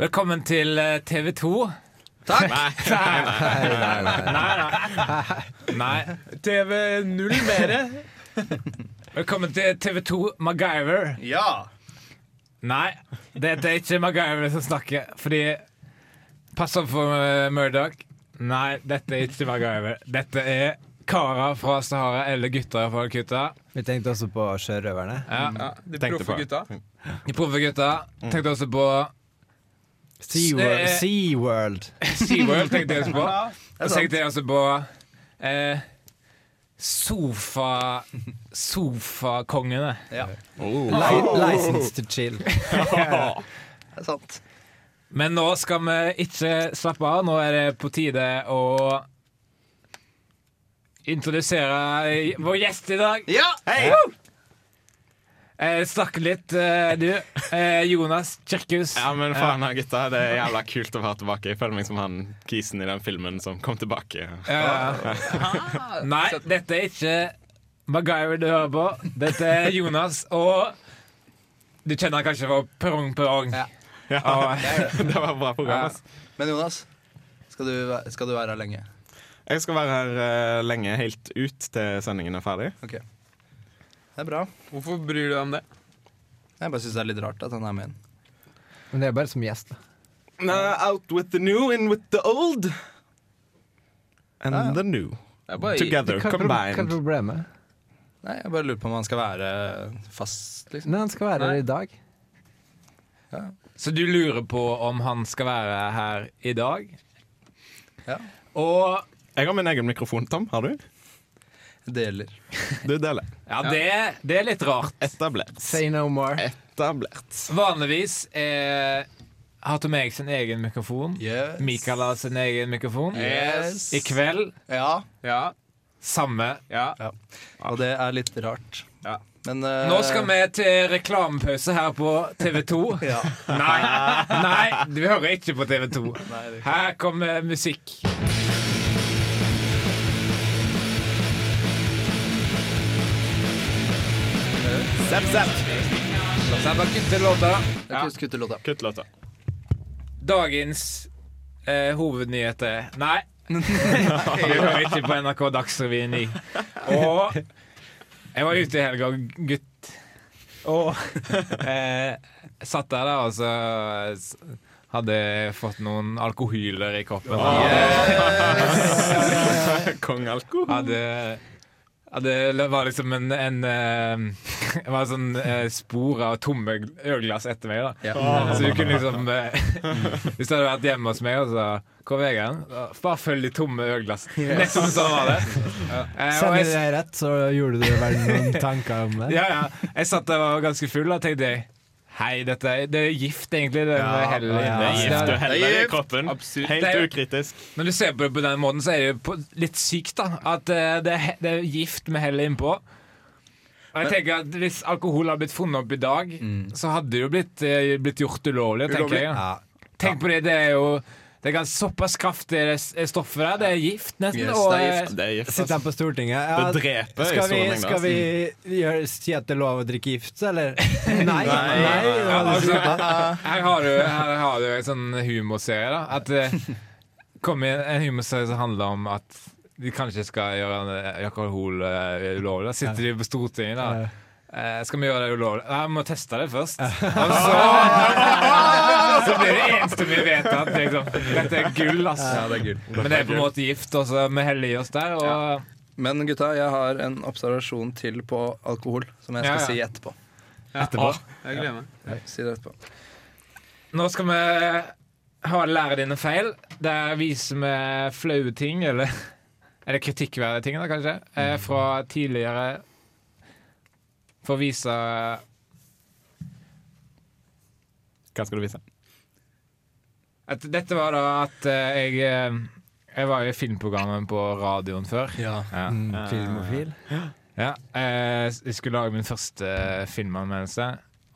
Velkommen til TV 2. Takk! Nei, nei. nei. TV null mere. Velkommen til TV 2 MacGyver. Ja! Nei, det er ikke MacGyver som snakker, fordi Pass opp for eh, Murdoch. Nei, dette er ikke MacGyver. Dette er karer fra Sahara eller gutter fra Kutta. Vi tenkte også på sjørøverne. Ja. Ja, de Tenkte proffe på. gutta. De proffe gutta. Tenkte også på SeaWorld. Eh, SeaWorld. SeaWorld. tenkte jeg også på. Og Det er så sant. tenkte jeg altså på eh, sofa... Sofakongene. Li- License to chill. Det er sant. Men nå skal vi ikke slappe av. Nå er det på tide å introdusere eh, vår gjest i dag. Ja! Eh, snakke litt, eh, du. Eh, Jonas Kirkhus. Ja, men faen da, gutta. Det er jævla kult å være tilbake. Jeg føler meg som han kisen i den filmen som kom tilbake. Eh, Ah. nei, dette er ikke MacGyver du hører på. Dette er Jonas, og du kjenner han kanskje fra Perrong Perrong. Ja. Ja, Og, Det var et bra program. ass. Men Jonas, skal du, væ- skal du være her lenge? Jeg skal være her eh, lenge, helt ut til sendingen er ferdig. Det er bra. Hvorfor bryr du deg om det? Jeg bare syns det er litt rart at han er med inn. Men det er bare som gjest. da. out with the new, in with the old. And Ja, ja. the new. Det er bare Together, Hva er pro- hva er combined. problemet? Nei, jeg bare lurer på om han skal være fast, liksom. Nei, han skal være her i dag. Så du lurer på om han skal være her i dag? Ja. Og Jeg har min egen mikrofon, Tom. Har du? Deler. Du deler. Ja, det, det er litt rart. Etablert. Say no more. Etablert. Vanligvis eh, har Tom Erik sin egen mikrofon. Yes. Mikael har sin egen mikrofon. Yes. I kveld Ja. Ja, samme. ja. Og det er litt rart. Ja. Men eh, Nå skal vi til reklamepause her på TV 2. Ja. Nei, nei, du hører ikke på TV 2. Her kommer musikk. Zapp, zapp. Så er det bare kutt til låta. Jeg kan huske kuttelåta. Kutt låta. Dagens eh, hovednyheter Nei. Jeg hører ikke på NRK Dagsrevyen 9. Og jeg var ute i helga, gutt. Og eh, satt der, da, og så s- hadde jeg fått noen alkohyler i kroppen. Kong Alko. Hadde, hadde Det var liksom en, en eh, Det var sånn eh, spor av tomme gl- ølglass etter meg, da. Ja. Så du kunne liksom eh, Hvis du hadde vært hjemme hos meg og så Hvor er Vegard? Bare følg de tomme ølglassene. Nesten sånn var det. Eh, og Sender du jeg, deg rett, så gjorde du vel noen tanker om det. ja, ja. jeg satt der og var ganske full og tenkte jeg, Hei, dette er, det er gift, egentlig. Det med hell ja, ja. Det er gift du inne. heller i kroppen. Absurd. Det Helt er- ukritisk. Når du ser på det på den måten, så er det jo på- litt sykt, da. At eh, det, er, he- det er gift med hell innpå. Og jeg tenker at Hvis alkohol hadde blitt funnet opp i dag, Mm. så hadde det jo blitt, eh, blitt gjort ulovlig. tenker jeg. Ja. Tenk på det, det er jo Det er ganske såpass kraftig det s- stoffet der. Det er gift, nesten. Yes, og, det er gift. eh, Det er gift. Sitter ass. han på Stortinget? Det dreper i skal vi, stor mengde, skal ass. vi gjøre, si at det er lov å drikke gift, eller? Nei. nei, ja, nei, altså, her har du, her har du en sånn humorserie, da. At det kom i en humorserie som handler om at de kanskje skal gjøre en- alkohol eh, ulovlig. Da sitter de på Stortinget, da. sånn. Eh, skal vi gjøre det ulovlig? Nei, vi må teste det først. Og så, så blir det eneste vi vet at liksom, dette er gull, altså. det er gull. Men det er på en måte gift, og så vi heller i oss der. Og Men gutta, jeg har en observasjon til på alkohol som jeg skal Ja, ja. si etterpå. Etterpå. Jeg gleder meg. Si det etterpå. Nå skal vi ha lære dine feil. Der viser vi flaue ting, eller Er det kritikkverdige ting, da, kanskje? Eh, Fra tidligere. For å vise Hva skal du vise? at Dette var da at eh, jeg eh, Jeg var jo i filmprogrammet på radioen før. Ja. Ja. Mm, Filmofil. ja. Eh, Jeg skulle lage min første filmanmeldelse,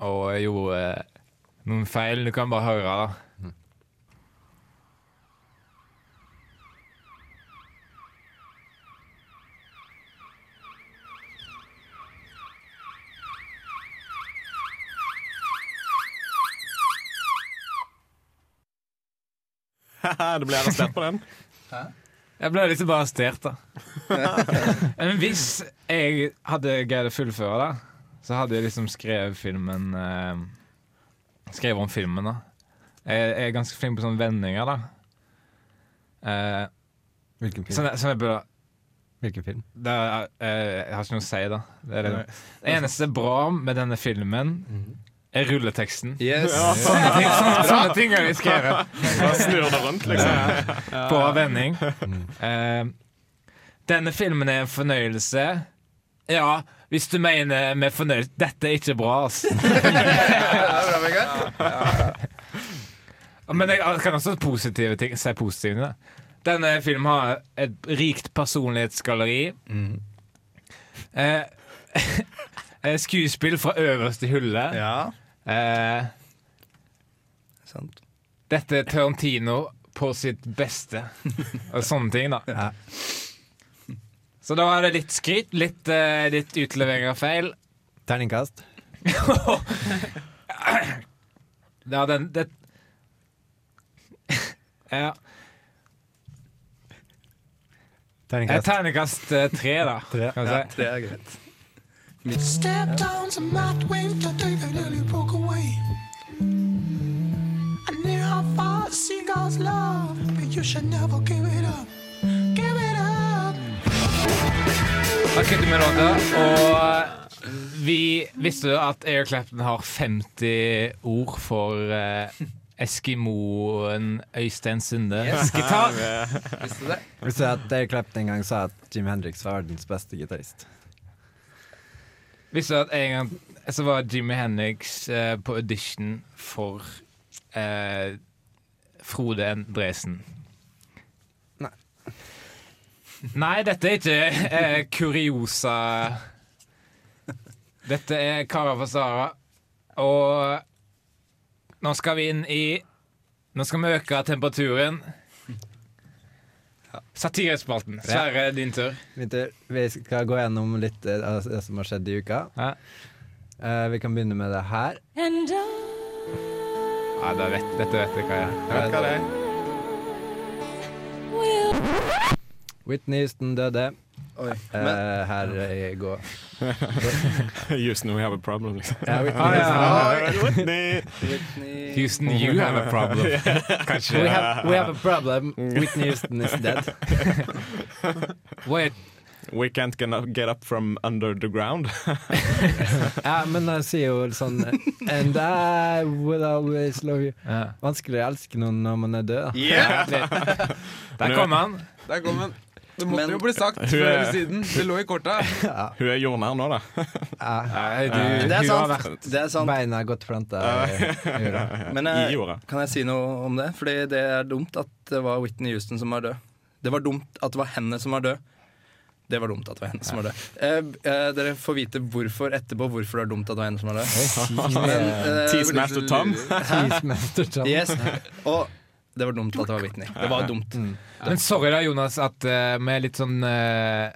og jeg gjorde eh, noen feil. Du kan bare høre, da. Du ble arrestert på den. Jeg ble liksom bare arrestert, da. Men hvis jeg hadde greid å fullføre det, så hadde jeg liksom skrevet filmen eh, Skrevet om filmen, da. Jeg, jeg er ganske flink på sånne vendinger, da. Eh, Hvilken film? sånn, sånn jeg burde Hvilken film? det er, eh, Jeg har ikke noe å si, da. Det, er det. det eneste bra med denne filmen, Mhm. er rulleteksten. Yes. Sånne ting, sånne, sånne ting har vi skrevet. Bare snur det rundt, liksom. på vending. Eh, denne filmen er en fornøyelse. Ja, hvis du mener med fornøyelse Dette er ikke bra, ass. Men jeg kan også positive ting, si positive ting. da. Denne filmen har et rikt personlighetsgalleri. Eh, eh, skuespill fra øverste hylle. Ja. Eh, Sant. dette er Tarantino på sitt beste. Og sånne ting, da. Ja. Så da er det litt skryt, litt, eh, litt utlevering av feil. Terningkast? Ja, den det, ja. eh, Terningkast. Terningkast eh, tre, da. Tre. Kan vi si. Det er greit. Step down to my twin to take a little poke away. I knew how far to see God's love, but you should never give it up. Give it up. Da kutter vi låta. Og eh, vi visste du at Air Clapton har 50 ord for eh, Eskimoen Øystein Sunde. Gitar. Visste du det? Visste du at Dave Clapton en gang sa at Jim Hendrix var verdens beste gitarist? Visste du at en gang så var Jimmy Henriks eh, på audition for eh, Frode Endresen? Nei. Nei, dette er ikke eh, kuriosa Dette er Kara for Sara. Og nå skal vi inn i Nå skal vi øke temperaturen. Satirespalten. Sverre, din tur. Vinter, vi skal gå gjennom litt eh, av det som har skjedd i uka. Ja, Eh, vi kan begynne med det her. And I ja da vet, Dette vet jeg hva jeg er. Vet hva det er? will. Whitney Houston døde Oi. eh, Men her eh, i går. Houston, we have a problem, liksom. Ja, Whitney Ah, Houston. ja. Whitney. Whitney Houston, you have a problem. Kanskje. We have, we have a problem. Whitney Houston is dead. Wait, We can't get up- get up from under the ground. Ja, men han sier jo sånn And I will always love you. ja. Vanskelig å elske noen når man er død. Yeah! Der kom han. Der kom den. Det måtte Men- jo bli sagt Hun før er- eller siden. Det lå i korta. Hun er jordnær nå, da. Nei, du, Det er hun har vært sant. Det er sant. Beina er godt planta i jorda. Men I jeg, jorda. kan jeg si noe om det? Fordi det er dumt at det var Whitney Houston som var død. Det var dumt at det var henne som var død. Det var dumt at det var henne som var død. Eh, eh, dere får vite hvorfor etterpå hvorfor det er dumt at det var henne som var død. Men, eh, Teasemaster Tom. Cheesemaster Tom. Yes. Og det var dumt at det var Whitney. Det var dumt. Men sorry da, Jonas, at eh, med litt sånn uh,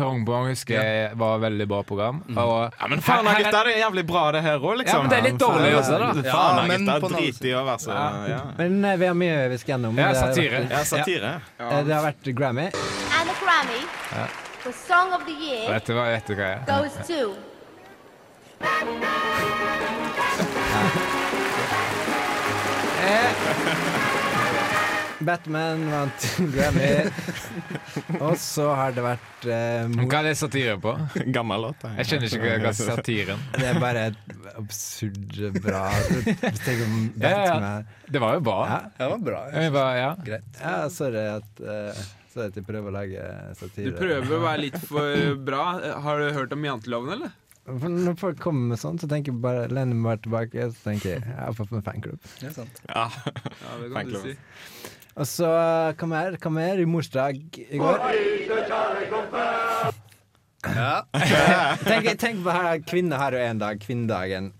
Perrongbong husker jeg var et veldig bra program. Og, Ja, men faen, Her- her- gutta, det er jævlig bra, det her òg, liksom. Ja, men det er litt dårlig også, da. Faen, Ja, men gutta, på den drit i å være så ja. Men eh, vi har mye vi skal gjennom. ja, Det har satire. vært- ja, satire. eh, Det har vært Grammy. and the Grammy for Song of the Ja, Year Dette var dette hva jeg er. goes to. Batman vant Grammy. Og så har det vært eh, Men mor- Hva er det satire på? Gammel låt. da. Jeg skjønner ikke hva- hva er satiren Det er bare et absurd eh, bra Tenk om Ja, ja. Batman Det var jo bra. Ja. Det var bra. Jeg bare, ja. Ja, sorry at eh, Sorry at jeg prøver å lage satire. Du prøver å være litt for bra. Har du hørt om janteloven, eller? For Når folk kommer med sånt, så tenker jeg bare lener meg bare tilbake og så tenker jeg, jeg har fått meg fanklubb. Det er sant. Ja. Ja, det kan du Fankloven. si. Og så eh, hva mer? Hva mer? I morsdag i går. tenk, tenk på her, kvinner har jo én dag, kvinnedagen.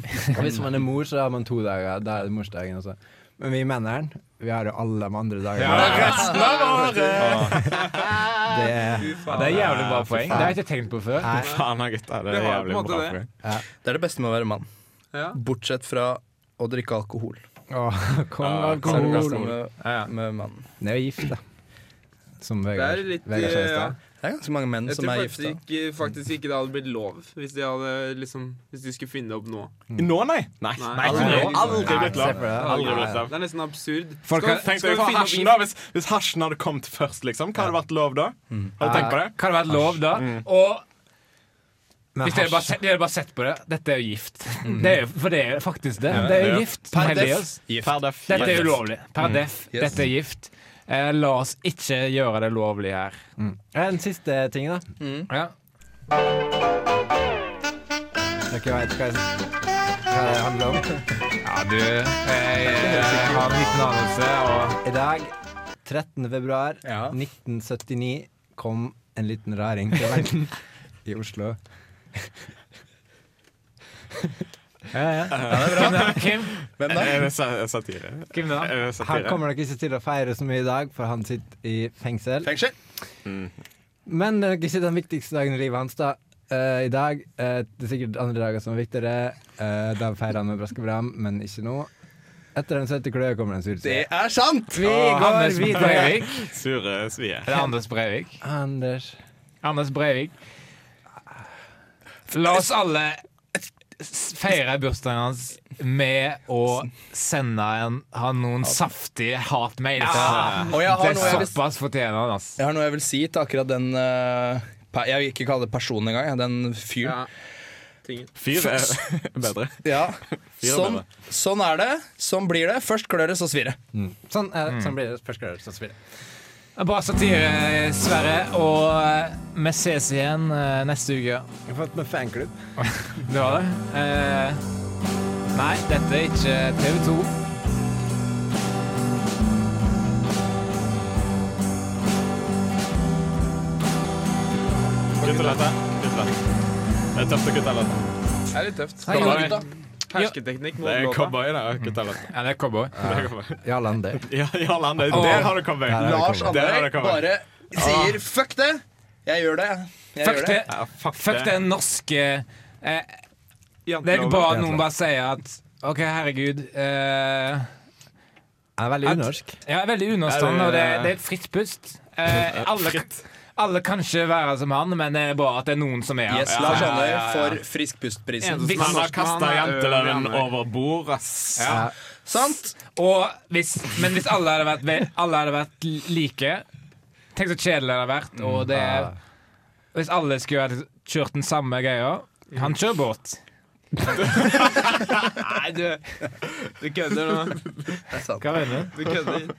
Og hvis man er mor, så har man to dager. Da er det morsdagen også. Men vi mennene, vi har jo alle de andre dagene. Resten av året! Det er Det er jævlig bra poeng. Det har jeg ikke tenkt på før. Nei. Faen, da, gutta, det Det er var på en jævlig måte bra. det. program. Det er det beste med å være mann. Ja. Bortsett fra å drikke alkohol. Åh, kong Ja, alkohol. Sarkasme med, Ja, ja. med mannen. Det er jo gift, da. Som Vegard Det er litt, eh, Vegard sa i ja. stad. Det er ganske mange menn Jeg som tror er faktisk gifta. ikke, faktisk ikke det hadde blitt lov hvis de, hadde, liksom, hvis de skulle finne opp nå. Nå, nei! Nei, Nei. aldri, Aldri. aldri Nei, blitt se lov. på det. Aldri Nei. blitt lov. Det er nesten absurd. Folk Skal- har- Tenk deg skal vi for finne opp hasjen, inf- da. Hvis, hvis hasjen hadde kommet først, liksom, hva hadde vært lov da? Mm. Har du tenkt på det? Kan det vært lov da? Og Men hvis dere bare, set, dere bare sett på det Dette er jo gift. Det er, jo- for det er faktisk det. Det er jo Mhm. Ja. gift. Heldigvis. Per def. Mhm. Dette er Yes. ulovlig. Per def. Dette er gift. Eh, la oss ikke gjøre det lovlig her. En siste ting, da. Ja. Dere veit hva, hva det handler om. Ja, du Jeg eh, har en liten anelse, og I dag, 13. februar Ja. 1979, kom en liten raring til verden i Oslo. Kim, Hvem da? Er det sa- er det satire? Kim da? Er det Her satire? kommer dere ikke til å feire så mye i dag, for han sitter i fengsel. Fengsel? Men det er nok ikke den viktigste dagen i livet hans, da. Eh, I dag eh, Det er sikkert andre dager som er viktigere. Eh, da feirer han med braske bram, men ikke nå. Etter den søte kløe kommer den sure Det side. er sant! Vi Ah. går Anders videre. Breivik. Sure svie. Er det Anders Breivik? Anders. Anders Breivik. La oss alle s- feire bursdagen hans med å sende en, han noen saftige hatmails. Og jeg Det har er noe jeg vil såpass fortjener han, ass. Jeg har noe jeg vil si til akkurat den eh, pe- Jeg vil ikke kalle det personen engang, jeg, den fyren. Ja. Tingen. Fyr er bedre. Ja. Fyren Sånn, bedre. sånn er det. Sånn blir det. Først klør det, så svir det. Sånn, eh, sånn blir det. Først skal det, så spiller det. Bra satire, Sverre. Og eh, vi ses igjen eh, neste uke. Jeg har fått meg fanklubb. Det var det. Eh, nei, dette er ikke TV 2. Guttelette. Guttelette. Det er tøft å guttelette. Det er litt tøft. Hei, Cowboy. gutta. Hersketeknikk Det mot er låta. cowboy, da. Guttelette. Ja, det er cowboy. Det er cowboy. Jarland Dau. Ja, Jarl Ander, Åh. der har du cowboy. Der er det Lars cowboy. Der er Andøy det cowboy. bare sier 'fuck det'. Jeg gjør det. Jeg Ah. Fuck gjør det. Ja, fuck, Fuck det. den norske eh, Det er Janteloven. ikke bra at noen bare sier at OK, herregud. Eh, Han er veldig At- unorsk. ja, veldig understand, og det, det er et fritt pust. Eh, alle, Fritt. alle kan ikke være som han, men det er bra at det er noen som er han. Yes, Lars Andøy får Frisk pust-prisen. Hvis- Han har kasta Han er janteloven øl, han er. over bord, ass. Ja. Sant? Og hvis, men hvis alle hadde vært, ve- alle hadde vært li- like Tenk så kjedelig det hadde vært. Og det, Ja. hvis alle skulle ha kjørt den samme greia Han kjører båt. Nei, du Du kødder nå. Det er sant. Hva mener du? Du kødder.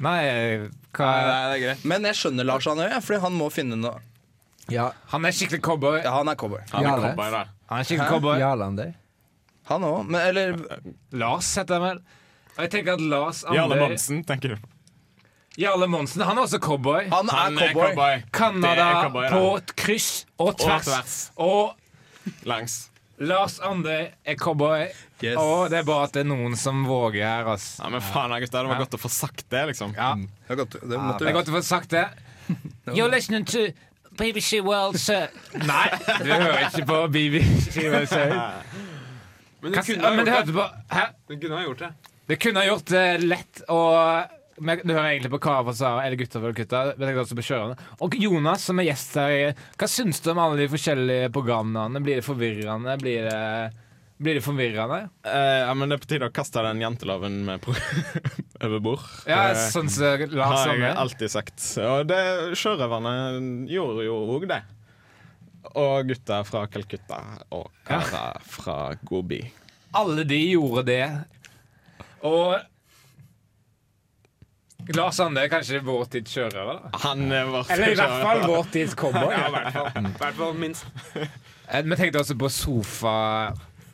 Nei, hva Nei, det er greit. Men jeg skjønner Lars Andøy, ja, fordi han må finne noe. Ja, Han er skikkelig cowboy. Ja, han er cowboy. Han er Jarle. cowboy, da. Han er skikkelig cowboy. Jarland Dau. Han òg. Men eller Lars heter han vel. Og jeg tenker at Lars Jarle Andøy Monsen, tenker du. Jarle Monsen, han er også cowboy. Han er cowboy. Det Canada er cowboy, da. på et kryss og tvers. tvers. Og Langs. Lars Andøy er cowboy. Yes. Og det er bra at det er noen som våger her, ass. Ja, men faen, da, gutter, det var godt å få sagt det, liksom. Ja. Det er godt- det måtte Det er du- godt å få sagt det. You're listening to BBC World Service Nei, du hører ikke på BBC World Service. Men du Hva- kunne ja, Men du ha gjort hørte det. på Hæ? Du kunne ha gjort det. Du kunne ha gjort det lett og men Du hører egentlig på Kara for Sara eller Gutta for gutta. men jeg er også på kjørerne. Og Jonas, som er gjest her, i- hva syns du om alle de forskjellige programnavnene? Blir det forvirrende? Blir det, blir det forvirrende? Eh, ja, men det er på tide å kaste den janteloven med pro over bord. Ja, det sånn som Lars har jeg Andøy. alltid sagt. Og det sjørøverne gjorde jo òg det. Og gutta fra Calcutta og kara fra Gobi. Alle de gjorde det. Og Lars Andøy er kanskje vår tids kjørere, da. Han eh, var Eller i hvert fall vår tids cowboy. Ja, i hvert fall. I hvert fall minst. Eh, Vi tenkte også på sofa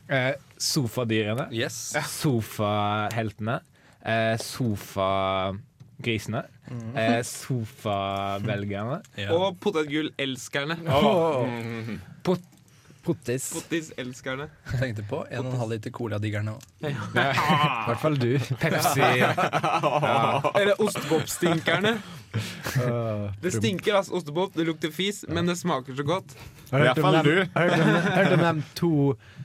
eh, sofadyrene. Yes. Sofaheltene. Eh, sofagrisene. Eh, sofabelgierne. Og potetgull-elskerne. Pot Pottis. Pottis-elskerne. Jeg tenkte på 1,5 liter cola-diggerne òg. I hvert fall du. Pepsi. Eller ostebobstinkerne. Det stinker altså ostebob, det lukter fis, men det smaker så godt. I hvert fall du. Hørte om, hørte om de to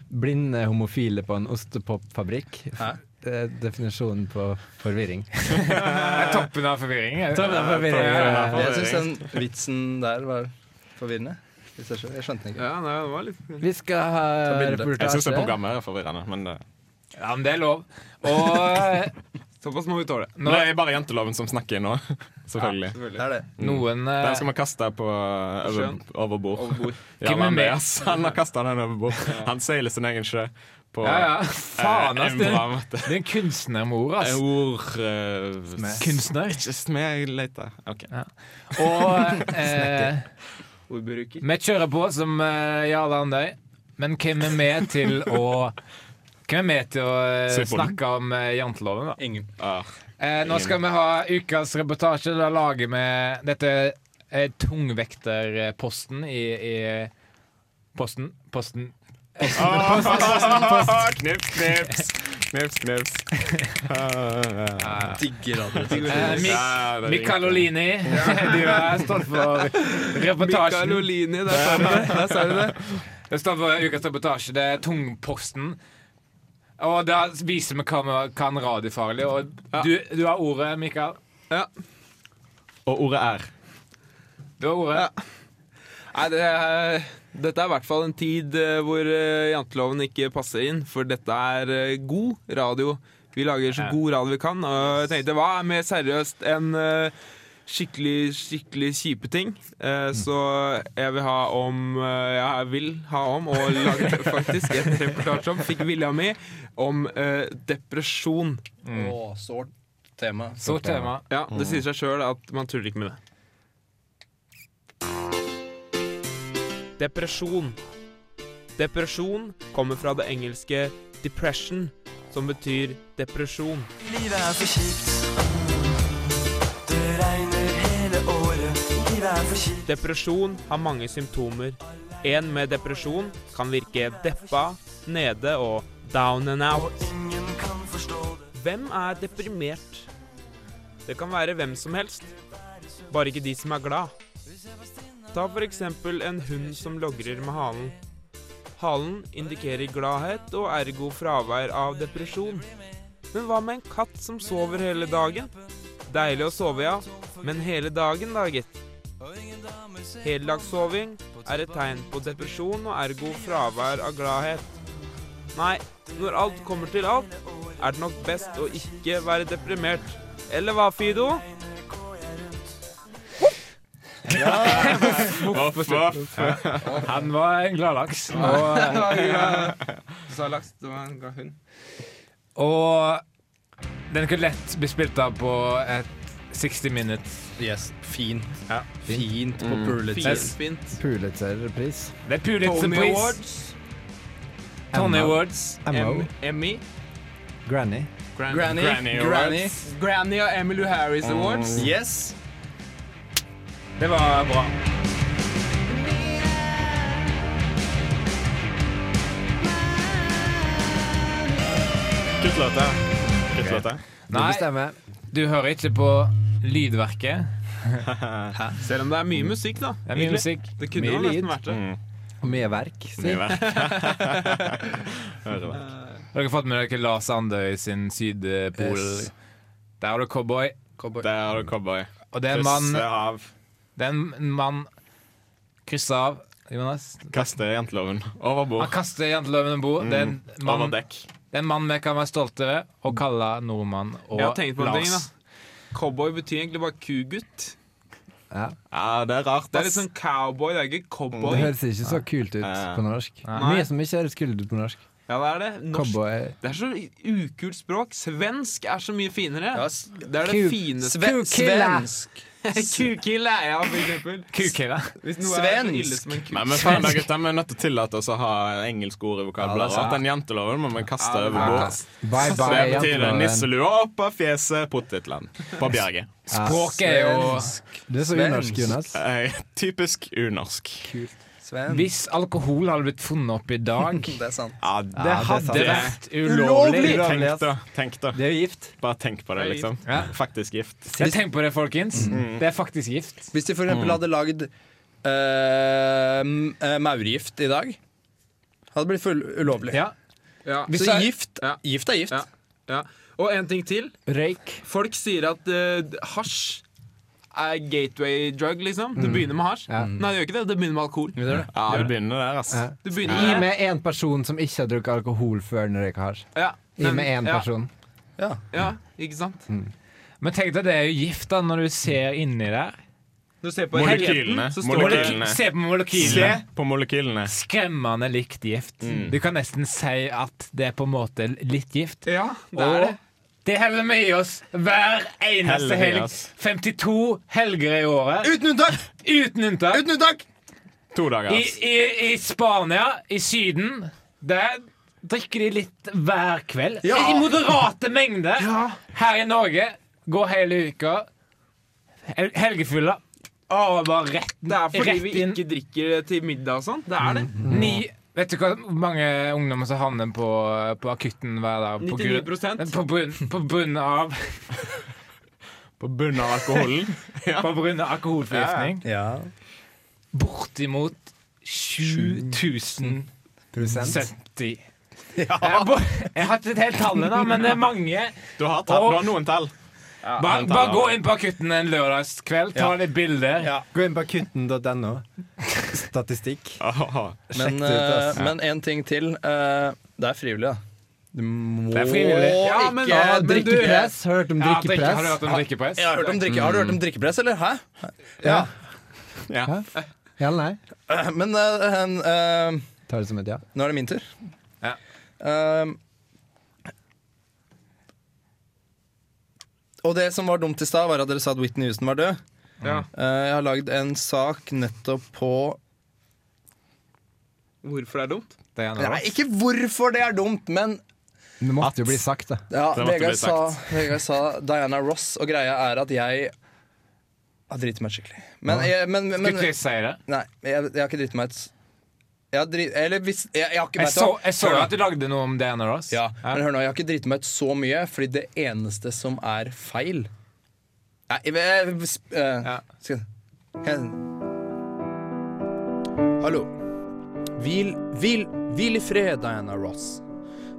blinde homofile på en ostepopfabrikk? Hæ? eh, definisjonen på forvirring. Det er toppen av forvirring. jeg. Toppen av forvirring, Ja, ja, ja. Jeg syns den vitsen der var forvirrende. i seg selv. Jeg skjønte den ikke. Ja, nei, det var litt Vi skal ha Ta bilde. Jeg syns det reportasje. programmet er forvirrende, men det, Ja, men det er lov. Og eh, Såpass må vi tåle. Nå- men det er bare janteloven som snakker nå. Selvfølgelig. Det er det. noen eh, Den skal man kaste på eh, over, Sjøen. overbord. Overbord. Ja, Hvem er med? Andreas, han har kasta den overbord. Han seiler sin egen sjø på Ja, ja. eh, Faen, ass. en Det bra måte. det er en kunstnermor, Eh, ass. Ord eh, Kunstner. Ikke smed jeg leter. Ok. Og eh, Ordbruker. vi kjører på som eh, Jarle Andøy, men hvem er med til å Hvem er med til å eh, Se på den. snakke om eh, janteloven, da? Ingen. Ah, Eh, nå skal vi ha ukas reportasje. Da lager vi Dette er tungvekterposten i, i Posten. Posten. Ah, knips, knips. Knips, knips. Ah, Digger radio. Eh, Mikael ja, det er Mikael Olini. Du er stolt for reportasjen. Olini, der sa du det. Der sa du det. Det står for ukas reportasje. Det er Tungposten. Og da viser vi hva vi kan radiofarlig. Og du, du har ordet, Mikael. Ja. Og ordet er Du har ordet. Ja. Nei, det er, dette er i hvert fall en tid eh, hvor eh, janteloven ikke passer inn, for dette er eh, god radio. Vi lager så god radio vi kan, og jeg tenkte hva er mer seriøst enn eh, skikkelig, skikkelig kjipe ting? Eh, Så jeg vil ha om eh, Jeg vil ha om, og lage faktisk et reportasje om, fikk vilja mi, om eh, depresjon. Å, sårt Mm. tema. Stort tema. Ja, det sier seg sjøl at man tuller ikke med det. Depresjon. Depresjon kommer fra det engelske 'depression', som betyr depresjon. Livet er for kjipt. Det regner hele året. Livet er for kjipt. Depresjon har mange symptomer. En med depresjon kan virke deppa, nede og down and out. Ingen kan forstå det. Hvem er deprimert? Det kan være hvem som helst, bare ikke de som er glad. Ta for eksempel en hund som logrer med halen. Halen indikerer gladhet og ergo fravær av depresjon. Men hva med en katt som sover hele dagen? Deilig å sove, ja, men hele dagen, da, gitt. Heldagssoving er et tegn på depresjon og ergo fravær av gladhet. Nei, når alt kommer til alt, er det nok best å ikke være deprimert. Eller hva, Fido? Han var en gladlaks. Og, Sa laks, det var en hund. og den kunne lett bli spilt av på et 60 Minutes. Yes, fint. Fint på Pulitzer. Finspint. Pulitzer-pris. Det er Pulitzer Tony Prize. Awards. Tony Awards. MO. Em Emmy. Granny. Granny. Granny Granny. Granny og Emily Harris Awards. Yes. Det var bra. Kutt låta. Kutt låta. Du Nei, bestemmer. du hører ikke på lydverket. Selv om det er mye musikk, da. Det er mye musikk. Det kunne Mye jo nesten lyd. vært det. Og mye verk. Si. Mye verk. Hører verk. Dere har fått med dere Lars Andøy sin Sydpol. Yes. Der har du cowboy. Der har du cowboy. Og det er en mann Krysse av. Det er en mann krysser av, Jonas. Kaste janteloven over Han bord. kaster janteloven om Mm. bord. Det er en Over mann- det dekk. er en mann vi kan være stolte av å kalle nordmann og Jeg har tenkt på en ting, Lars. da. Cowboy betyr egentlig bare kugutt. Ja, det er rart, Det er ass. litt sånn cowboy, det er ikke Det cowboy. høres ikke så kult ut Nei. på norsk. Nei. Mye som ikke høres kult ut på norsk. Ja, det er det. Norsk. Cowboy. Det er så ukult språk. Svensk er så mye Ja, finere. s- Det er det Ku- fineste sve Kukilla. svensk. Kukille er jeg, for eksempel. Kukere. Hvis noe er så ille Svensk. som en kuk. Nei, men faen da, gutta, vi er nødt til å tillate oss å ha engelske ord i Ja, det vokabularet. er sant. Den janteloven må vi kaste Ja, det er over bord. sant. Bye Så det bye, betyr det. janteloven. nisselua opp av fjeset, potetland. På bjerget. Språket er jo Du er så Svensk. unorsk, Jonas. Eh, typisk unorsk. Svensk. Hvis alkohol hadde blitt funnet opp i dag, Det er sant. Ja, det det er hadde det det. vært ulovlig. Tenk da. Tenk da. Det er jo gift. Bare tenk på det, liksom. Ja. Faktisk gift. Jeg tenker på det, folkens. Mm. Det er faktisk gift. Hvis de for eksempel hadde lagd eh, m- eh, maurgift i dag, hadde det blitt full ulovlig. Ja. Ja. Hvis Så jeg- gift, Ja. gift er gift. Ja. Ja. Og en ting til. Røyk. Folk sier at eh, hasj er gateway drug, liksom. Det begynner med hasj. Ja. Nei, det gjør ikke det. Det begynner med alkohol. Mm. Gjør det? Ja, det begynner der, ass. Ja. Det begynner I med én person som ikke har drukket alkohol før den røyka hasj. ja. I med én ja. person. Ja. Ja, ikke sant? Men tenk deg det er jo gift da når du ser inni der. Når du ser på helheten, Molekylene. så står det Molekylene. Se på Se molekylene. på molekylene. Skremmende likt gift. Mm. Du kan nesten si at det er på en måte litt gift. Ja, det er Og det. det heller vi i oss hver eneste Heller i helg. oss. 52 helger i året. Uten unntak! Uten unntak. Uten unntak! To dager, I, ass. i, I Spania, i Syden, der drikker de litt hver kveld. I moderate mengder. Her i Norge går hele uka hel- helgefulla. Å, bare rett, Det er fordi rett vi inn. ikke drikker til middag og sånn. Det er det. Ni Vet du hva hvor mange ungdommer som havner på, på akutten hver dag? På grunn- 99%. På bunn, på bunn av På bunnen av alkoholen. På grunn av alkoholforgiftning. Ja. Bortimot 7070. Jeg, bo- jeg har ikke et helt tallet, da, men det er mange. Du har, tatt, du har noen tall. Bare, bare gå inn på akutten en lørdagskveld, ta litt bilder. Gå inn på kutten.no. Statistikk. Åh, Men, Sjekk det ut, ass. eh, men en ting til. eh, det er frivillig, da. Du må Det er frivillig. Ja, men- ikke ja, men du- Drikkepress. Hørt om Ja, drikke, har du drikkepress? hørt om drikkepress? Jeg har, Mm. hørt om drikke, har du hørt om drikkepress, eller? Hæ? Ja eller nei? Eh, Men eh, en, eh, Tar det som et ja. nå er det min tur. Ja. Eh, og det som var dumt i stad, var at dere sa at Whitney Houston var død. Ja. Eh, jeg har lagd en sak nettopp på Hvorfor det er dumt? Det er en av Nei, oss. ikke hvorfor det er dumt, men Det måtte jo bli sagt, da. Ja, Det måtte Vegard bli sa, sagt. Vegard sa Diana Ross, og greia er at jeg har driti meg ut skikkelig. Men, jeg, men, men, Skulle ikke jeg si det? Nei, jeg, jeg har ikke driti meg ut. Jeg har drit, eller hvis Jeg, jeg har ikke Jeg vet du så, hva? jeg så Hør jo nå. at du lagde noe om Diana Ross. ja, Men hør nå, jeg har ikke driti meg ut så mye, fordi det eneste som er feil Nei, jeg, jeg, sp- eh, Ja. skal, kan jeg- Hallo. Hvil, hvil, hvil i fred, Diana Ross.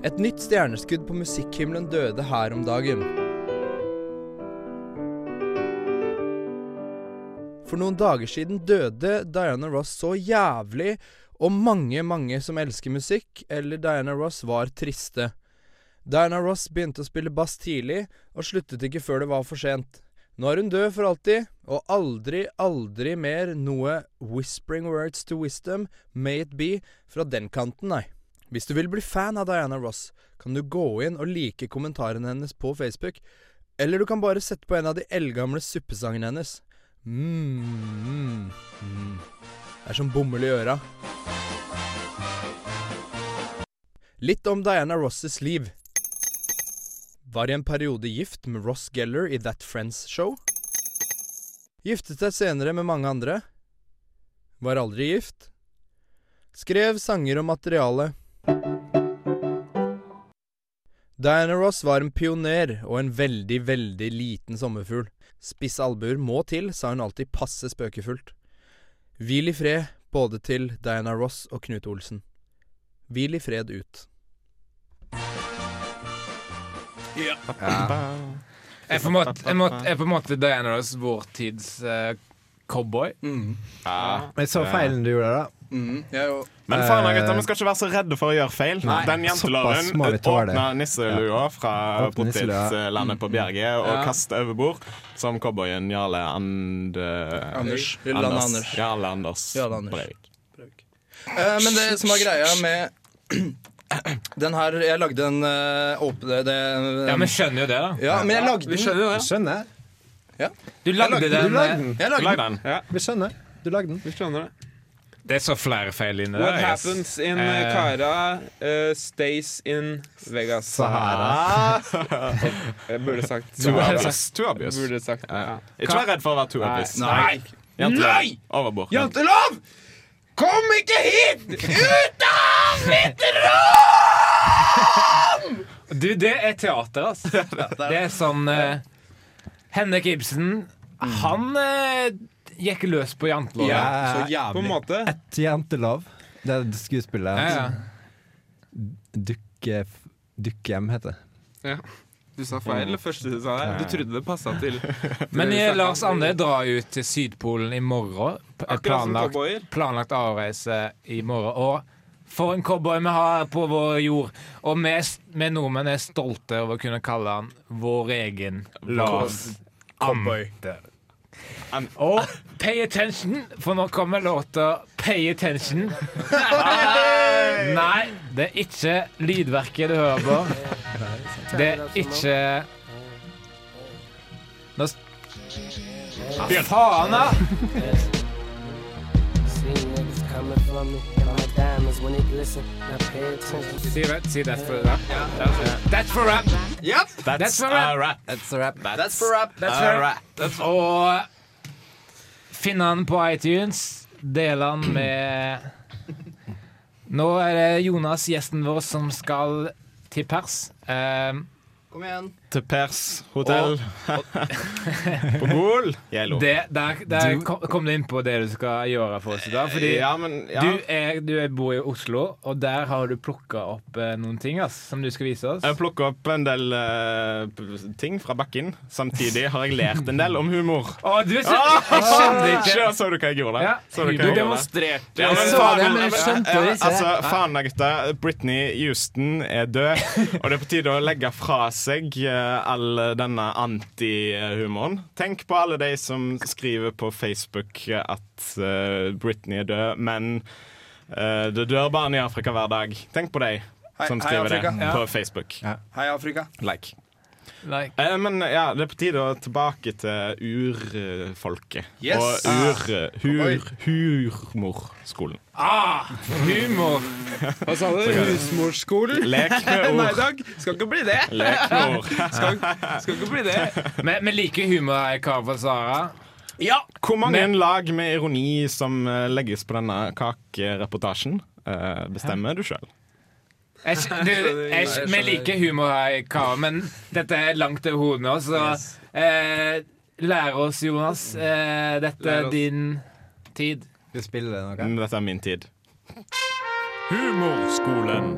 Et nytt stjerneskudd på musikkhimmelen døde her om dagen. For noen dager siden døde Diana Ross så jævlig, og mange, mange som elsker musikk, eller Diana Ross, var triste. Diana Ross begynte å spille bass tidlig, og sluttet ikke før det var for sent. Nå er hun død for alltid, og aldri, aldri mer noe 'whispering words to wisdom', may it be, fra den kanten, nei. Hvis du vil bli fan av Diana Ross, kan du gå inn og like kommentarene hennes på Facebook, eller du kan bare sette på en av de eldgamle suppesangene hennes. Mm, mm, mm. Det er som bomull i øra. Litt om Diana Rosses liv. Var i en periode gift med Ross Geller i That Friends Show. Giftet seg senere med mange andre. Var aldri gift. Skrev sanger og materiale. Diana Ross var en pioner og en veldig, veldig liten sommerfugl. Spisse albuer må til, sa hun alltid passe spøkefullt. Hvil i fred, både til Diana Ross og Knut Olsen. Hvil i fred ut. Jeg er på en måte, jeg må- jeg er på en måte Diana Ross, vår tids eh, cowboy. Jeg så feilen du gjorde, da. Mm-hmm, Men faen, da, gutter, vi skal ikke være så redde for å gjøre feil. Den såpass må janteloven vi tåle. åpna nisselua fra Åpne nisselua. potetlandet på Bjerget og kasta over bord, som cowboyen Jarle And... Anders. Jarle Anders. Jarle Anders Jarle Anders. Breivik. Eh, men det som var greia med den her Jeg lagde en uh, åpne det, Ja, men skjønner jo det, da. ja, men jeg lagde Vi den. skjønner jo det. Skjønner. Du lagde lagde- den. Du lagde eh, den. Jeg lagde Lag den. den. Vi skjønner. Du lagde den. Vi skjønner det. Det er så flere feil inni What der. yes. happens in Eh. Cara eh, stays in Vegas. Sahara. Jeg burde sagt Too Ah, obvious. Too obvious. Burde sagt ja. Ikke vær redd for å være too obvious. Nei! Jantelov. Overbord. Jantelov! Kom ikke hit! Ut av mitt Du, det er teater, altså. Det er sånn eh, Henrik Ibsen, han eh, gikk løs på janteloven. Ja, så På en måte. Jentelov. Det er skuespillet. Ja, hans. ja. Dukke... Dukkehjem heter det. Du sa feil det første du sa der. Du trodde det passa til. Men Det eh, snakket Lars om- Andøy drar jo til Sydpolen i morgen. P- er Akkurat som planlagt, cowboyer. planlagt avreise i morgen. Og for en cowboy vi har på vår jord! Og vi, s- vi nordmenn er stolte over å kunne kalle han vår egen Lars Andøy. Am- Og pay attention, for nå kommer låta Pay attention. Nei, det er ikke lydverket du hører på. Det er ikke Nå s- Ah, Faen, da! Si det, si that's for rap. That's for rap. That's That's a a rap. That's a wrap. That's for rap. That's a for rap. rap. Og finn han på iTunes. Del han med Nå er det Jonas, gjesten vår, som skal til pers. Eh, Kom igjen. Til Pers hotell. På Gol. Gjello. det, der der kom, kom du inn på det du skal gjøre for oss i dag. Fordi ja, men ja. du, er, du er, bor i Oslo, og der har du plukka opp eh, noen ting ass, som du skal vise oss. Jeg plukker opp en del eh, p- ting fra bakken. Samtidig har jeg lært en del om humor. Å, du er så, Ah! jeg skjønner ikke! Så du hva jeg gjorde? Ah! Ja, Så du hva humor jeg gjorde? Demonstrerte. Ja, Jeg så faen, det, men jeg skjønte det ikke. Altså, faen da, gutta. Britney Houston er død, og det er på tide å legge fra seg eh, all denne antihumoren. Tenk på alle de som skriver på Facebook at eh, Britney er død, men eh, det dør barn i Afrika hver dag. Tenk på de Hei- som hei, skriver det Afrika. Ja. på Facebook. Hei, Afrika. Like. Like. Eh, men ja, det er på tide å tilbake til urfolket. Yes. Og ur, Oi. hur, hurmorskolen. Ah, humor! Hva sa du? Husmorskolen? Lek med Nei ord. takk, skal ikke bli det. Lek med ord. Skal, skal ikke bli det. Vi vi liker humor her i Karen for Sara. Hvor mange lag med ironi som eh, legges på denne kakereportasjen, eh, bestemmer du sjøl. Jeg, skj- du, jeg, skj- vi liker humor her i Kara, men dette er langt over hodet nå, så eh, Lær oss, Jonas. Eh, dette Lær er oss. din tid. Du spiller noe? Men Dette er min tid. Humorskolen.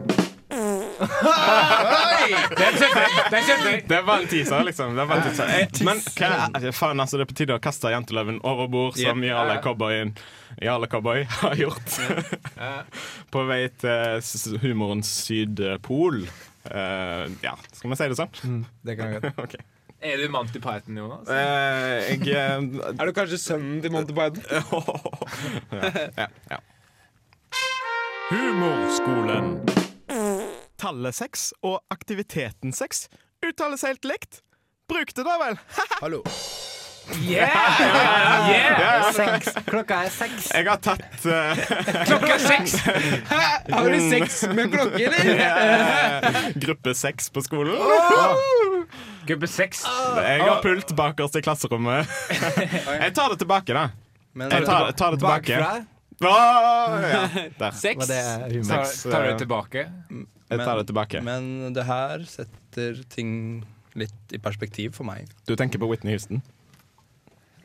Den kjente jeg! Den kjente jeg! Det var en teaser, liksom. Det var en teaser. Eh, Men hva, faen, altså, det er på tide å kaste jenteløven over bord, som Jarle Cowboyen Jarle Cowboy har gjort. På vei til s- humorens sydpol. Eh, ja, skal vi si det sånn? Det kan jeg godt. OK. Er du Monty Python, Jonas? Eh, jeg eh, Er du kanskje sønnen til Monty Python? ja, ja. Humorskolen. Tallet seks og aktiviteten seks uttales helt likt. Bruk det, da vel! Yeah! yeah! Seks. Klokka er seks. Jeg har tatt eh, Klokka er seks! Har Mm. du sex med klokke, eller? gruppe seks på skolen. Gruppe seks. Jeg har pult bakerst i klasserommet. Jeg tar det tilbake, da. Men, eh, Jeg tar, jeg tar det tilbake. Bakfra Åh, ja. Der. var Sex. det humor. Tar, eh. tar du tilbake? eh, Jeg tar det tilbake. men det her setter ting litt i perspektiv for meg. Du tenker på Whitney Houston?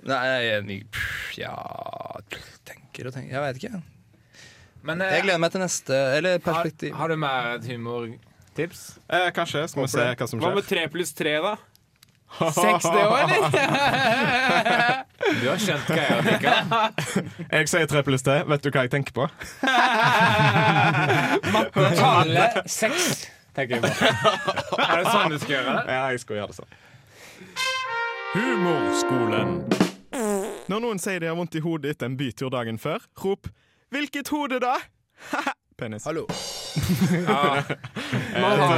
Nei, jeg er enig. Pff, Ja Tenker og tenker. Jeg veit ikke. Men eh, Jeg gleder meg til neste Eller har, perspektiv. har du mer et humortips? Eh, kanskje. Skal vi se hva som Hva med skjer. tre pluss tre, da? Seks, det òg, eller? Du har skjønt hva jeg liker. Jeg sier tre pluss tre. Vet du hva jeg tenker på? Tallet seks, tenker jeg på. Er det sånn du skal gjøre det? Ja, jeg skal gjøre det sånn. Humorskolen. Når noen sier de har vondt i hodet etter en bytur dagen før, rop 'Hvilket hode, da?' Penis. Hallo.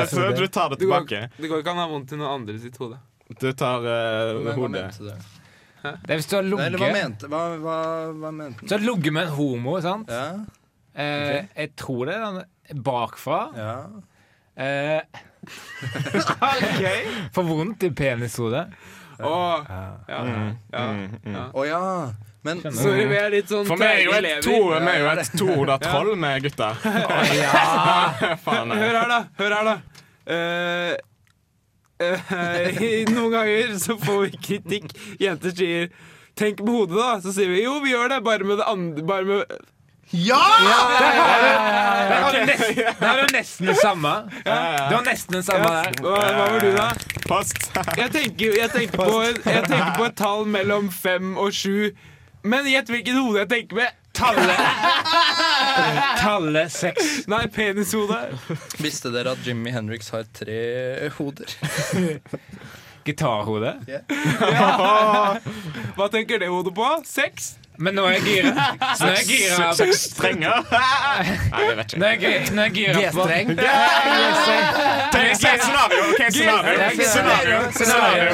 så du tar det Det går, tilbake. det går ikke an å ha vondt i noen andre sitt hode. Du tar eh, Men hva hodet. mente du? Det er hvis du har Nei, Eller hva ligget mente Hva, hva, hva mente Så har ligget med en homo, sant? Ja, Eh, jeg tror det er den bakfra. ja. Eh, For vondt i penishodet. Åh, ja, ja, ja. Å ja. Men Sorry, vi er litt sånn Mm, For vi er jo treige et to, elever. vi er jo et tohoda troll, vi gutter. Faen, Hør nei. her, da. Hør her, da. Eh, eh, noen ganger så får vi kritikk. Jenter sier 'tenk med hodet', da. Så sier vi 'jo, vi gjør det', bare med det andre bare med Ja! Det var nesten, det var nesten det samme. Det var nesten det samme der. Hva, hva var du, da? Post. Jeg, tenker, jeg, tenkte på, jeg tenker på et tall mellom fem og sju. Men gjett hvilket hode jeg tenker med. Tallet Tallet seks. Nei, penishode. Visste dere at Jimmy Henriks har tre hoder? Gitarhode. Hva tenker det hodet på? Seks? Men nå er jeg gira. Så Nå er jeg gira. Seks strenger. Nei, jeg vet ikke. Nå er jeg gi- Nå er jeg gira på G-streng. Tenk si et scenario. ok, scenario. Scenario.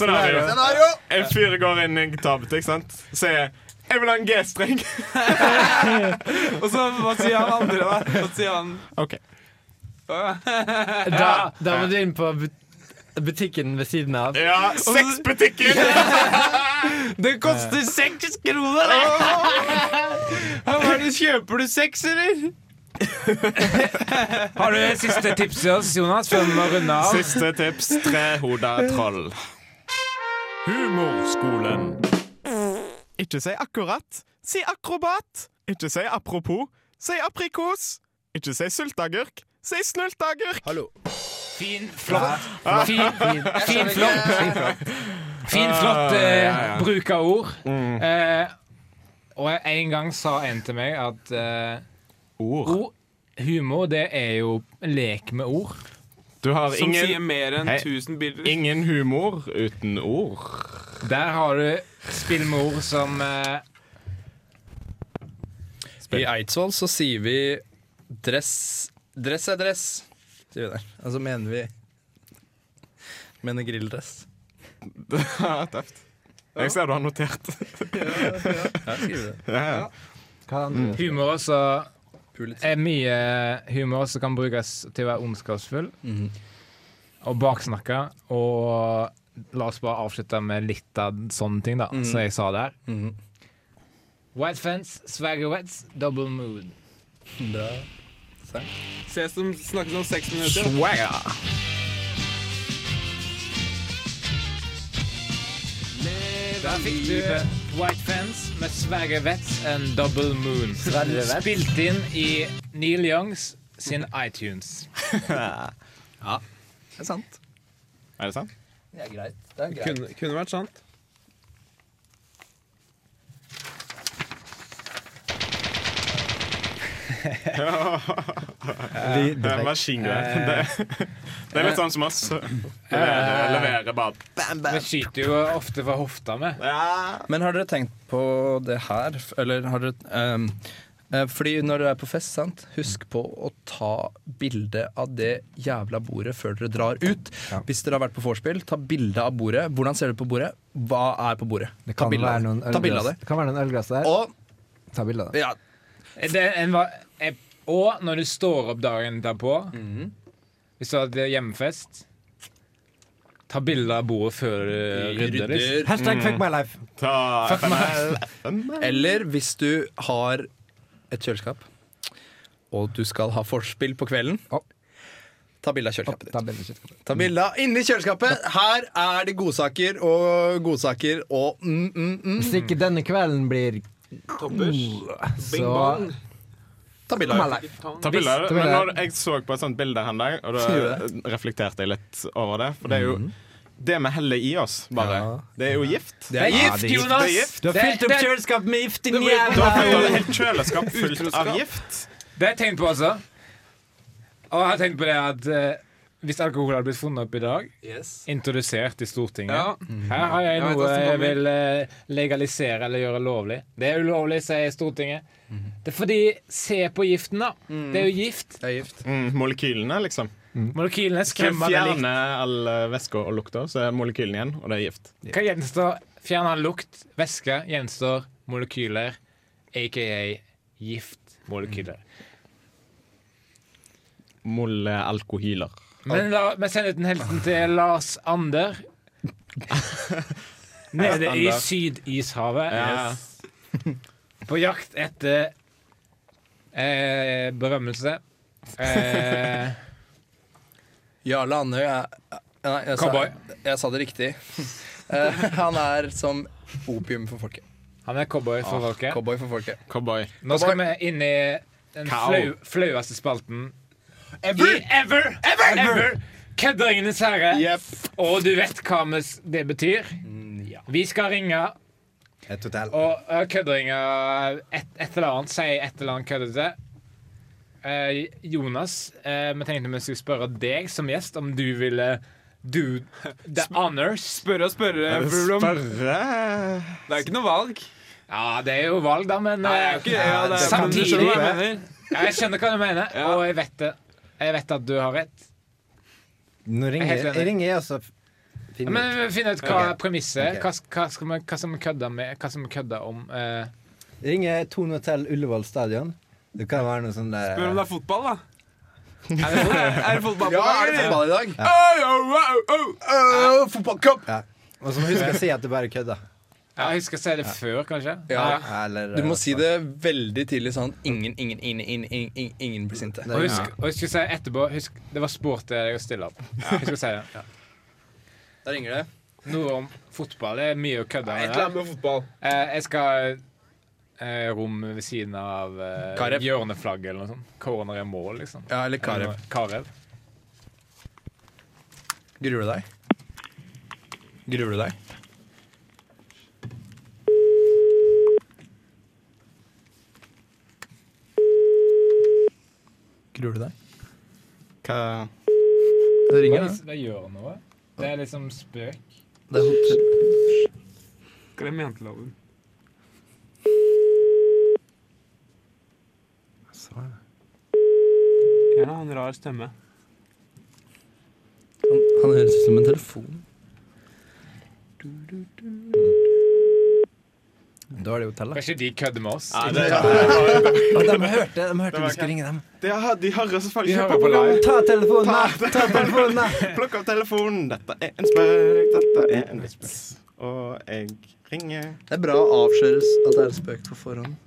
Scenario. Scenario. En fyr går inn i en gitarbutikk, sant? Sier 'Jeg vil ha en G-streng'. Og så hva sier han andre, da? Hva sier han? Ok. Da, da må du inn på but- butikken ved siden av. Ja, sexbutikken! Det koster seks kroner! Hva er det, kjøper du seks, eller? Har du et siste tips til oss, Jonas, før vi må runde av? Siste tips. Trehoda troll. Humorskolen. Ikke si akkurat. Si akrobat. Ikke si apropos. Si aprikos. Ikke si sylteagurk. Si snulteagurk. Fin, flott. Fin, fin, flott. Fin, flott, fin, flott eh, bruk av ord. Eh, og en gang sa en til meg at eh, Ord. ord, humor, det er jo en lek med ord. Du har Som Eh, sier ingen, mer enn Hei. 1000 bilder. ingen humor uten ord. Der har du spill med ord som eh, I Eidsvoll så sier vi dress Dress er dress, sier vi der. Altså mener vi Mener grilldress. Tøft. Jeg ser du har notert. Her skriver vi det. Ja, ja. humor også Pulitzer. er mye humor som kan brukes til å være ondskapsfull og baksnakke. Og la oss bare avslutte med litt av sånne ting, da, som jeg sa der. Mhm. White fence, swagger wets, double mood. Bra. Se som snakkes om seks minutter. Der fikk du White Fence med Sverre Wetz and Double Moon. Wetz. Spilt inn i Neil Youngs sin iTunes. Det er sant. Er det sant? Det er greit. Det er greit. Kunne, kunne vært sant. Det er Eh. maskingevær. Eh, Det, det er litt sånn som oss. Leverer, leverer bare Vi skyter jo ofte fra hofta med. Men har dere tenkt på det her? F- Eller har dere ehm, eh, Fordi når dere er på fest, sant? husk på å ta bilde av det jævla bordet før dere drar ut. Hvis dere har vært på vorspiel, ta bilde av bordet. Hvordan ser det på bordet? Hva er på bordet? Det kan ta bilde være av noen det. Ta bilde av ølglass, det. det kan være noen ølglass der. Og Ta bilde av det. ja, Det er en, va- eh, og når du står opp dagen derpå, hvis du har hatt hjemmefest Ta bilde av bordet før du rydder. liksom. Hashtag fuck my life. ta FML. FML. Eller hvis du har et kjøleskap, og du skal ha vorspiel på kvelden, Å. ta bilde av kjøleskapet ditt. Ta bilde av kjøttkaker. Ta bilde av inni kjøleskapet. Her er det godsaker og godsaker og mm, mm, mm. Hvis ikke denne kvelden blir Toppers. altså. Bing så bong. Ta bilde Fuck av my kjøleskapet. life. Ta bilde av det. Visste vi Men det? når jeg så på et sånt bilde her en dag, og da reflekterte jeg litt over det. For det er jo det vi heller i oss, bare. Det er jo gift. Det er gift! Gift, Jonas! Det er gift. Du har Det- fylt opp det- kjøleskapet med gift, din Det blir- Da jævla får du et helt kjøleskap fullt av Utroskap. gift. Det har jeg tenkt på også. Og jeg har tenkt på det at eh, hvis alkohol hadde blitt funnet opp i dag, introdusert i Stortinget Ja. Mm. Her har jeg Jeg vet noe hva som jeg kommer. vil eh, legalisere eller gjøre lovlig. Det er ulovlig, sier Stortinget. Det er fordi Se på giften, da. Det er jo gift. Det er gift. Mm, molekylene, liksom. Molekylene Skal skremmer det likt. fjerne all eh, væske og lukta, så er molekylene igjen, og det er gift. Hva gjenstår? Fjerne lukt. Væske gjenstår molekyler, aka giftmolekyler. Molealkohyler. Men la vi sender ut en hilsen til Lars Ander. Nede i Sydishavet. Ja. På jakt etter eh, berømmelse. Eh, Jarle Andøy er Nei, jeg sa, Cowboy. jeg sa det riktig. Eh, Han er som opium for folket. Han er cowboy for folket. Cowboy for folket. Cowboy. Nå skal vi inn i den Cow. flau, flaueste spalten ever. I, ever, ever, ever. Kødderingenes herre. Og du vet hva vi s- det betyr. Vi skal ringe Et hotell. og ø, kødderinge et, et eller annet. Si et eller annet køddete. Eh, Jonas, eh, vi tenkte vi skulle spørre deg som gjest om du ville do the honors. Spørre og spørre. Problem. Sperre Det er ikke noe valg. Ja, det er jo valg, da, men Nei, det er eh, jo ikke, ja, det er, men du Samtidig- skjønner hva jeg mener. Ja, jeg skjønner hva du mener, Ja. og jeg vet det. Jeg vet at du har rett. Nå ringer Helt jeg, enig. jeg ringer jeg, og så f- Ja, finner Men jeg ut. vi finner ut hva Mm. Ok. premisset er. Ok. Hva, hva skal vi hva skal vi kødde med? Hva skal vi kødde om? eh, Jeg ringer Tone Hotell Ullevål Stadion. Det kan være noe sånn der Spør om det er fotball, da. Er det, er det fotball på Ja, er det gang, fotball i dag? eller? Oi, oh, oh, oh. fotballcup! ja. Og så må du huske å si at du bare kødder. ja, jeg husker å si det før, kanskje. Ja. Eller, Du må si det veldig tidlig, sånn at ingen, ingen, ingen, ingen, ingen, ingen, ingen blir sinte. Og husk, og husk å si etterpå husk, Det var sport det å stille opp. Husk å si det. Ja. Der ringer det. Noe om fotball. Det er mye å kødde Et med. eller der. annet med fotball. Eh, jeg skal eh, rom ved siden av eh, Karev. hjørneflagget eller noe sånt. Corner er mål, liksom. Ja, eller Karev. Karev. Gruer du deg? Gruer du deg? Gruer du deg? Hva Det Hva er ringer, det det. som- Det gjør noe. Det er liksom spøk. Det er hotell. Glem janteloven. Ja, en rar stemme. Han, han høres ut som en telefon. Da er det hotellet. Kanskje de kødder med oss? det, det, Og de hørte, de hørte vi var skulle ringe dem. har- De hører selvfølgelig De ikke hører på på programmet. Ta telefonen, da! Ta telefonen, da! Plukk opp telefonen. Dette er en spøk, dette er en vits. Og jeg ringer Det er bra å avsløres at det er spøk på forhånd.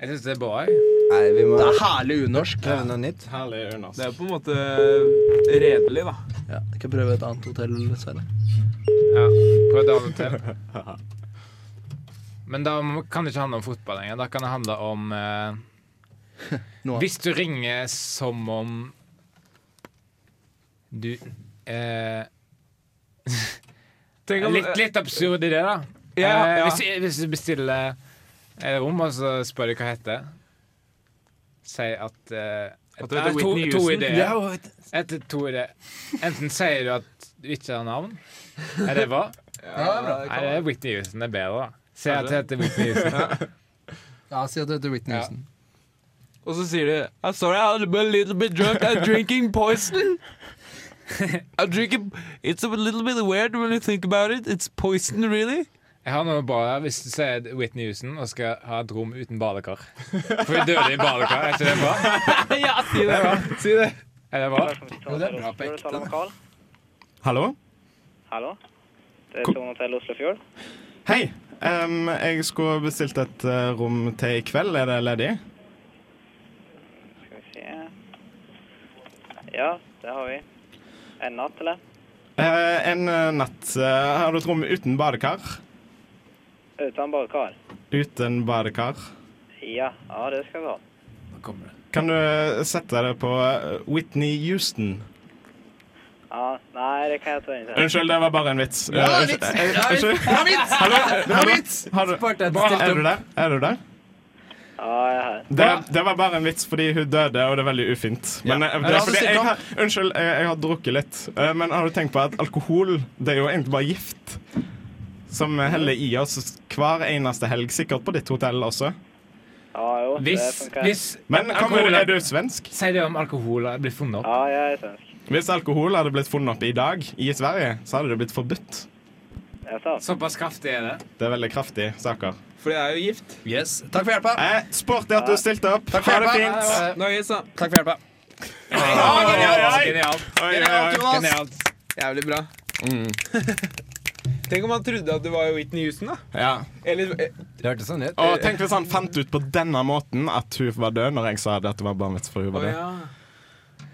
Jeg syns det er bra. Jeg. Nei, vi må Det er herlig unorsk. prøve noe nytt. Herlig, Jonas. Det er på en måte redelig, da. Ja, jeg kan prøve et annet hotell, dessverre. Ja, på et annet hotell. Men da må- kan det ikke handle om fotball lenger. Da kan det handle om eh, Noe Hvis du ringer som om du eh, Tenk om- litt, litt absurd idé, da. Ja, Eh, ja. Hvis, hvis du bestiller eh, rom, og så spør de hva det heter Si at eh, At du heter eh, to, Whitney to Houston? ideer. Etter to ideer. Enten sier du at du ikke har navn. Er det bra? Nei, det er Whitney Houston. Det er bedre, da. Si at det heter Whitney Houston. Ja, si at det heter Whitney Houston. Og så sier de I'm sorry, I'm a little bit drunk. I'm drinking poison. I'm drinking It's a little bit weird when you think about it. It's poison, really. Jeg har noe bra her hvis du sier Whitney Houston og skal ha et rom uten badekar. For vi døde i badekar. Er ikke det bra? ja, si det. Si det. Er det bra? Lokal. Hallo? Hallo? Det er Kom- Tone Hotell Oslofjord. Hei. Em, jeg skulle bestilt et eh, rom til i kveld. Er det ledig? Skal vi se Ja, det har vi. En natt, eller? Eh, en eh, natt. eh, har du et rom uten badekar? Uten badekar? Uten badekar. Ja, ja, det skal vi ha. Kan du sette det på eh, Whitney Houston? Ja, nei, det kan jeg ta inn til. Unnskyld, det var bare en vits. Ja, vits. Bra vits! Hallo? Hallo? Har du, er du der? Er du der? Ja, jeg er her. Det, det var bare en vits fordi hun døde, og det er veldig ufint. Men, eh, Ja, det er så fordi stilt jeg opp. har, unnskyld, jeg, jeg har drukket litt. Eh, Men har du tenkt på at alkohol det er jo egentlig bare gift? Som vi heller i oss hver eneste helg, sikkert på ditt hotell også. Ja, jo, det Hvis, funker. hvis Men kommer, alkohol er du svensk? Si det om alkohol har blitt funnet opp. Ja, jeg er svensk. Hvis alkohol hadde blitt funnet opp i dag i Sverige, så hadde det blitt forbudt. Jaså? Såpass kraftig er det. Det er veldig kraftige saker. For det er jo gift. Yes. Takk for hjelpa. Eh, Sporty at du stilte opp. Ha det fint. Nice, da. Takk for hjelpa. Genialt. Oi, oi, oi. Genialt. Jævlig bra. Mm. Tenk om han trodde at det var Whitney Houston, da. Ja. Eller eh, Det hørtes sånn ut. Og tenk hvis han fant ut på denne måten at hun var død når jeg sa det at det var bare en vits for hun Å var død. ja.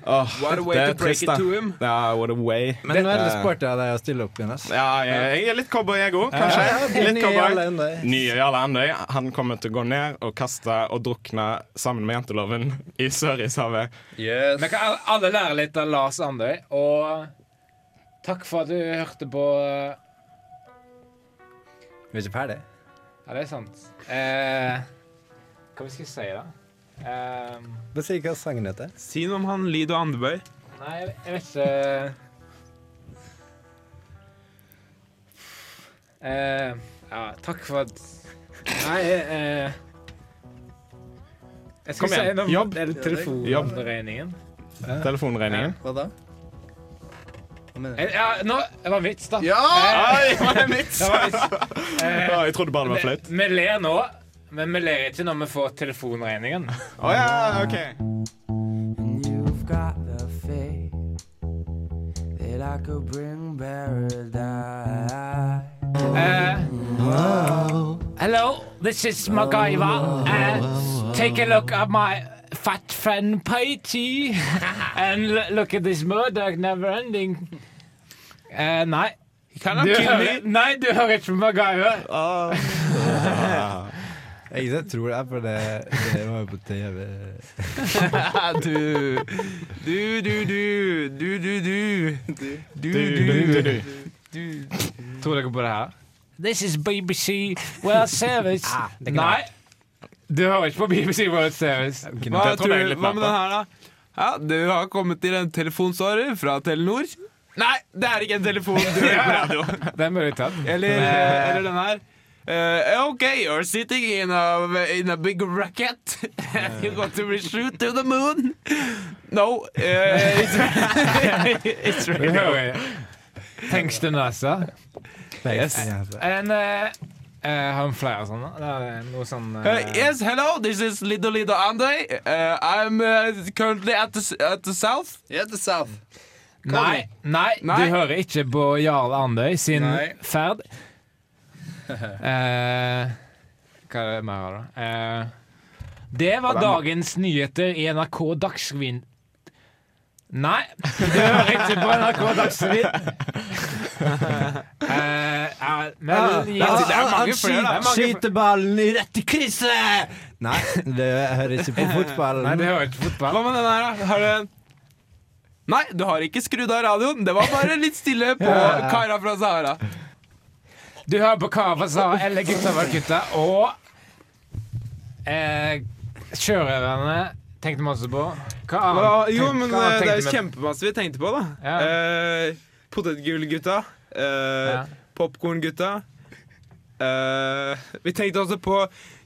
Åh, What a way det er to break trist, it da. to him. Ja, what a way. Men nå er det sporty av deg å stille opp igjen. ass. Ja, jeg, jeg er litt cowboy, jeg òg, kanskje. Ny Litt alle cowboy. ennå. Nye Jarle Andøy han kommer til å gå ned og kaste og drukne sammen med janteloven i Sørishavet. Yes. Vi kan al- alle lære litt av Lars Andøy, og takk for at du hørte på Ja, Vi er ikke ferdig. det er sant. Eh, hva vi skal si, da? Eh, Bare si hva sangen heter. Si noe om han Lido Andebøy. nei, jeg jeg vet ikke eh, Ja, takk for at Nei, eh, Jeg skal Kom igjen, si noe om jobb. den telefonregningen. Telefonregningen. Hva da? Hva mener du? Eh, Ja, nå Det var en vits, da. Ja! Oi, hva er mitt? Det var en vits. Å, Jeg trodde bare det var flaut. Vi ler nå, men vi ler ikke når vi får telefonregningen. Å ja, OK. And you've got the faith that I could bring paradise. Eh, hello, this is MacGyver. Eh, take a look at my fat friend Patey. And l- look at this murder, never ending. Eh, nei. Du hører, nei, du hører ikke på MacGyver. Jeg ikke tror det er, for det, det var jo på TV. du, du, du, du, du, du, du. Du, Du, du, du. du. Tror dere på det her? Ah, This is BBC World Service. nei. Du hører ikke på BBC World Service. Hva, Det tror trodde jeg du, litt hva mer på. med den her, da? Ja, du har kommet til en telefonsvarer fra Telenor. Nei, det er ikke en telefon! Du hører på radio. Det er mulig tatt. Eh, Eller, eller den her. Eh, ok, you're sitting in a, in a big racket. You're going to be shoot to the moon. No, eh, it's, it's Vi radio. hører. Thanks to NASA. Yes. Ja, En, eh, eh, har vi flere sånne? Det er noe sånn eh, Uh, yes, hello, this is Lido Lido Andre. Uh, I'm uh, currently at the, s- at the south. Yeah, the South. nei, nei, Nei. du hører ikke på Jarl Andøy sin Nei. ferd. Eh, hva er det mer her, da? Eh, det var dagens nyheter i NRK Dagsrevyen. Nei, du hører ikke på NRK Dagsrevyen. Eh, ja, men er- det er mange Han flere, da. skyter- skyter ballen i rett i krysset! Nei, det hører ikke på fotballen. Nei, du hører ikke fotball. Hva med den her, da? Har du Nei, du har ikke skrudd av radioen. Det var bare litt stille på Kara fra Sahara. Du hører på Kava sa eller gutta var gutta, og eh, sjørøverne tenkte vi også på. Hva Ja, annet? jo, tenk- men hva annet eh, det er tenkte jo vi- kjempemasse vi tenkte på, da. Ja. Eh, Potetgullgutta. Eh, Ja. Popkorngutta. Eh, vi tenkte også på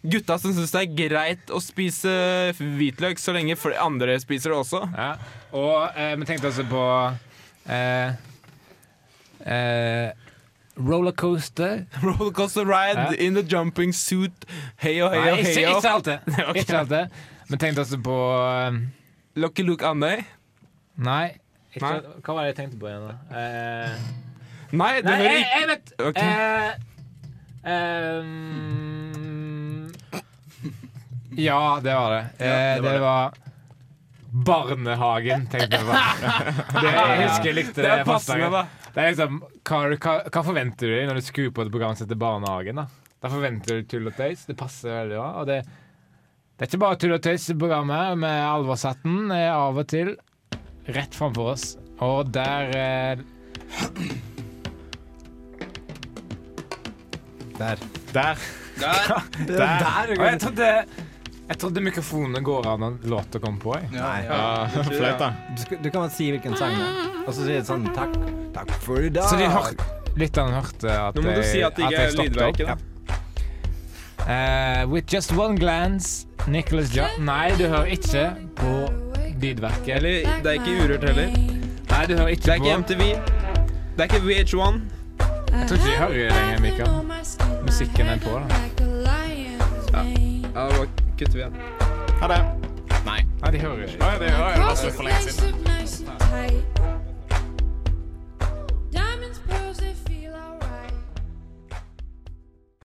gutta som syns det er greit å spise hvitløk så lenge fl- andre spiser det også. Ja. Og eh, vi tenkte også på eh, eh, Rollercoaster. Rollercoaster ride Ja. in the jumping suit. Heyo, heyo, Nei, ikke, heyo. ikke alt det. Ikke alt det. Vi tenkte også på eh, Lucky Luke Andøy. Nei. Ikke, Nei. Hva var det jeg tenkte på igjen, da? Eh, Nei, det Nei, hører jeg, ikke jeg vet Ok. eh, ehm, Ja, det var det. Eh, det, var Barnehagen, tenkte jeg på. Det, jeg husker jeg likte Det det. er første passende, gangen. da. Det er liksom, hva, hva, hva forventer du når du skrur på et program som heter Barnehagen? Da Da forventer du tull og tøys. Det passer veldig bra. Og det, det er ikke bare tull og tøys i programmet. Med Alvorshatten er av og til rett framfor oss. Og der eh, Der. Der. Der. Og jeg trodde, jeg trodde mikrofonene går an en låt å komme på. Jeg. Ja, Nei. Ja, Flaut, da. Du, skal, du kan bare si hvilken sang det er, og så sier du sånn takk, takk for i dag. Så de hør, lytterne hørte at Nå må du jeg- si at det ikke jeg er stoppet lydverket, da. opp. Ja. Eh, with just one glance, Nicholas John Nei, du hører ikke på lydverket. Eller det er ikke Urørt heller. Nei, du hører Det er ikke ikke på MTV. Det er ikke VH1. Jeg tror ikke de hører lenger, Mikael. Musikken er på, da. Ja, da kutter vi igjen. Ha det. Nei, de hører ikke. Oi, det var jo for lenge siden. Nice and tight.